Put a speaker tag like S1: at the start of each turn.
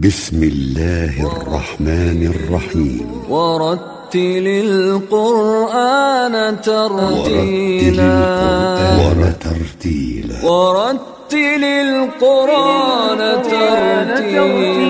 S1: بسم الله الرحمن الرحيم
S2: ورتل القرآن
S1: ورتل
S2: ترتيلا
S1: القرآن ترتيلا
S2: ورتل القرآن ترتيلا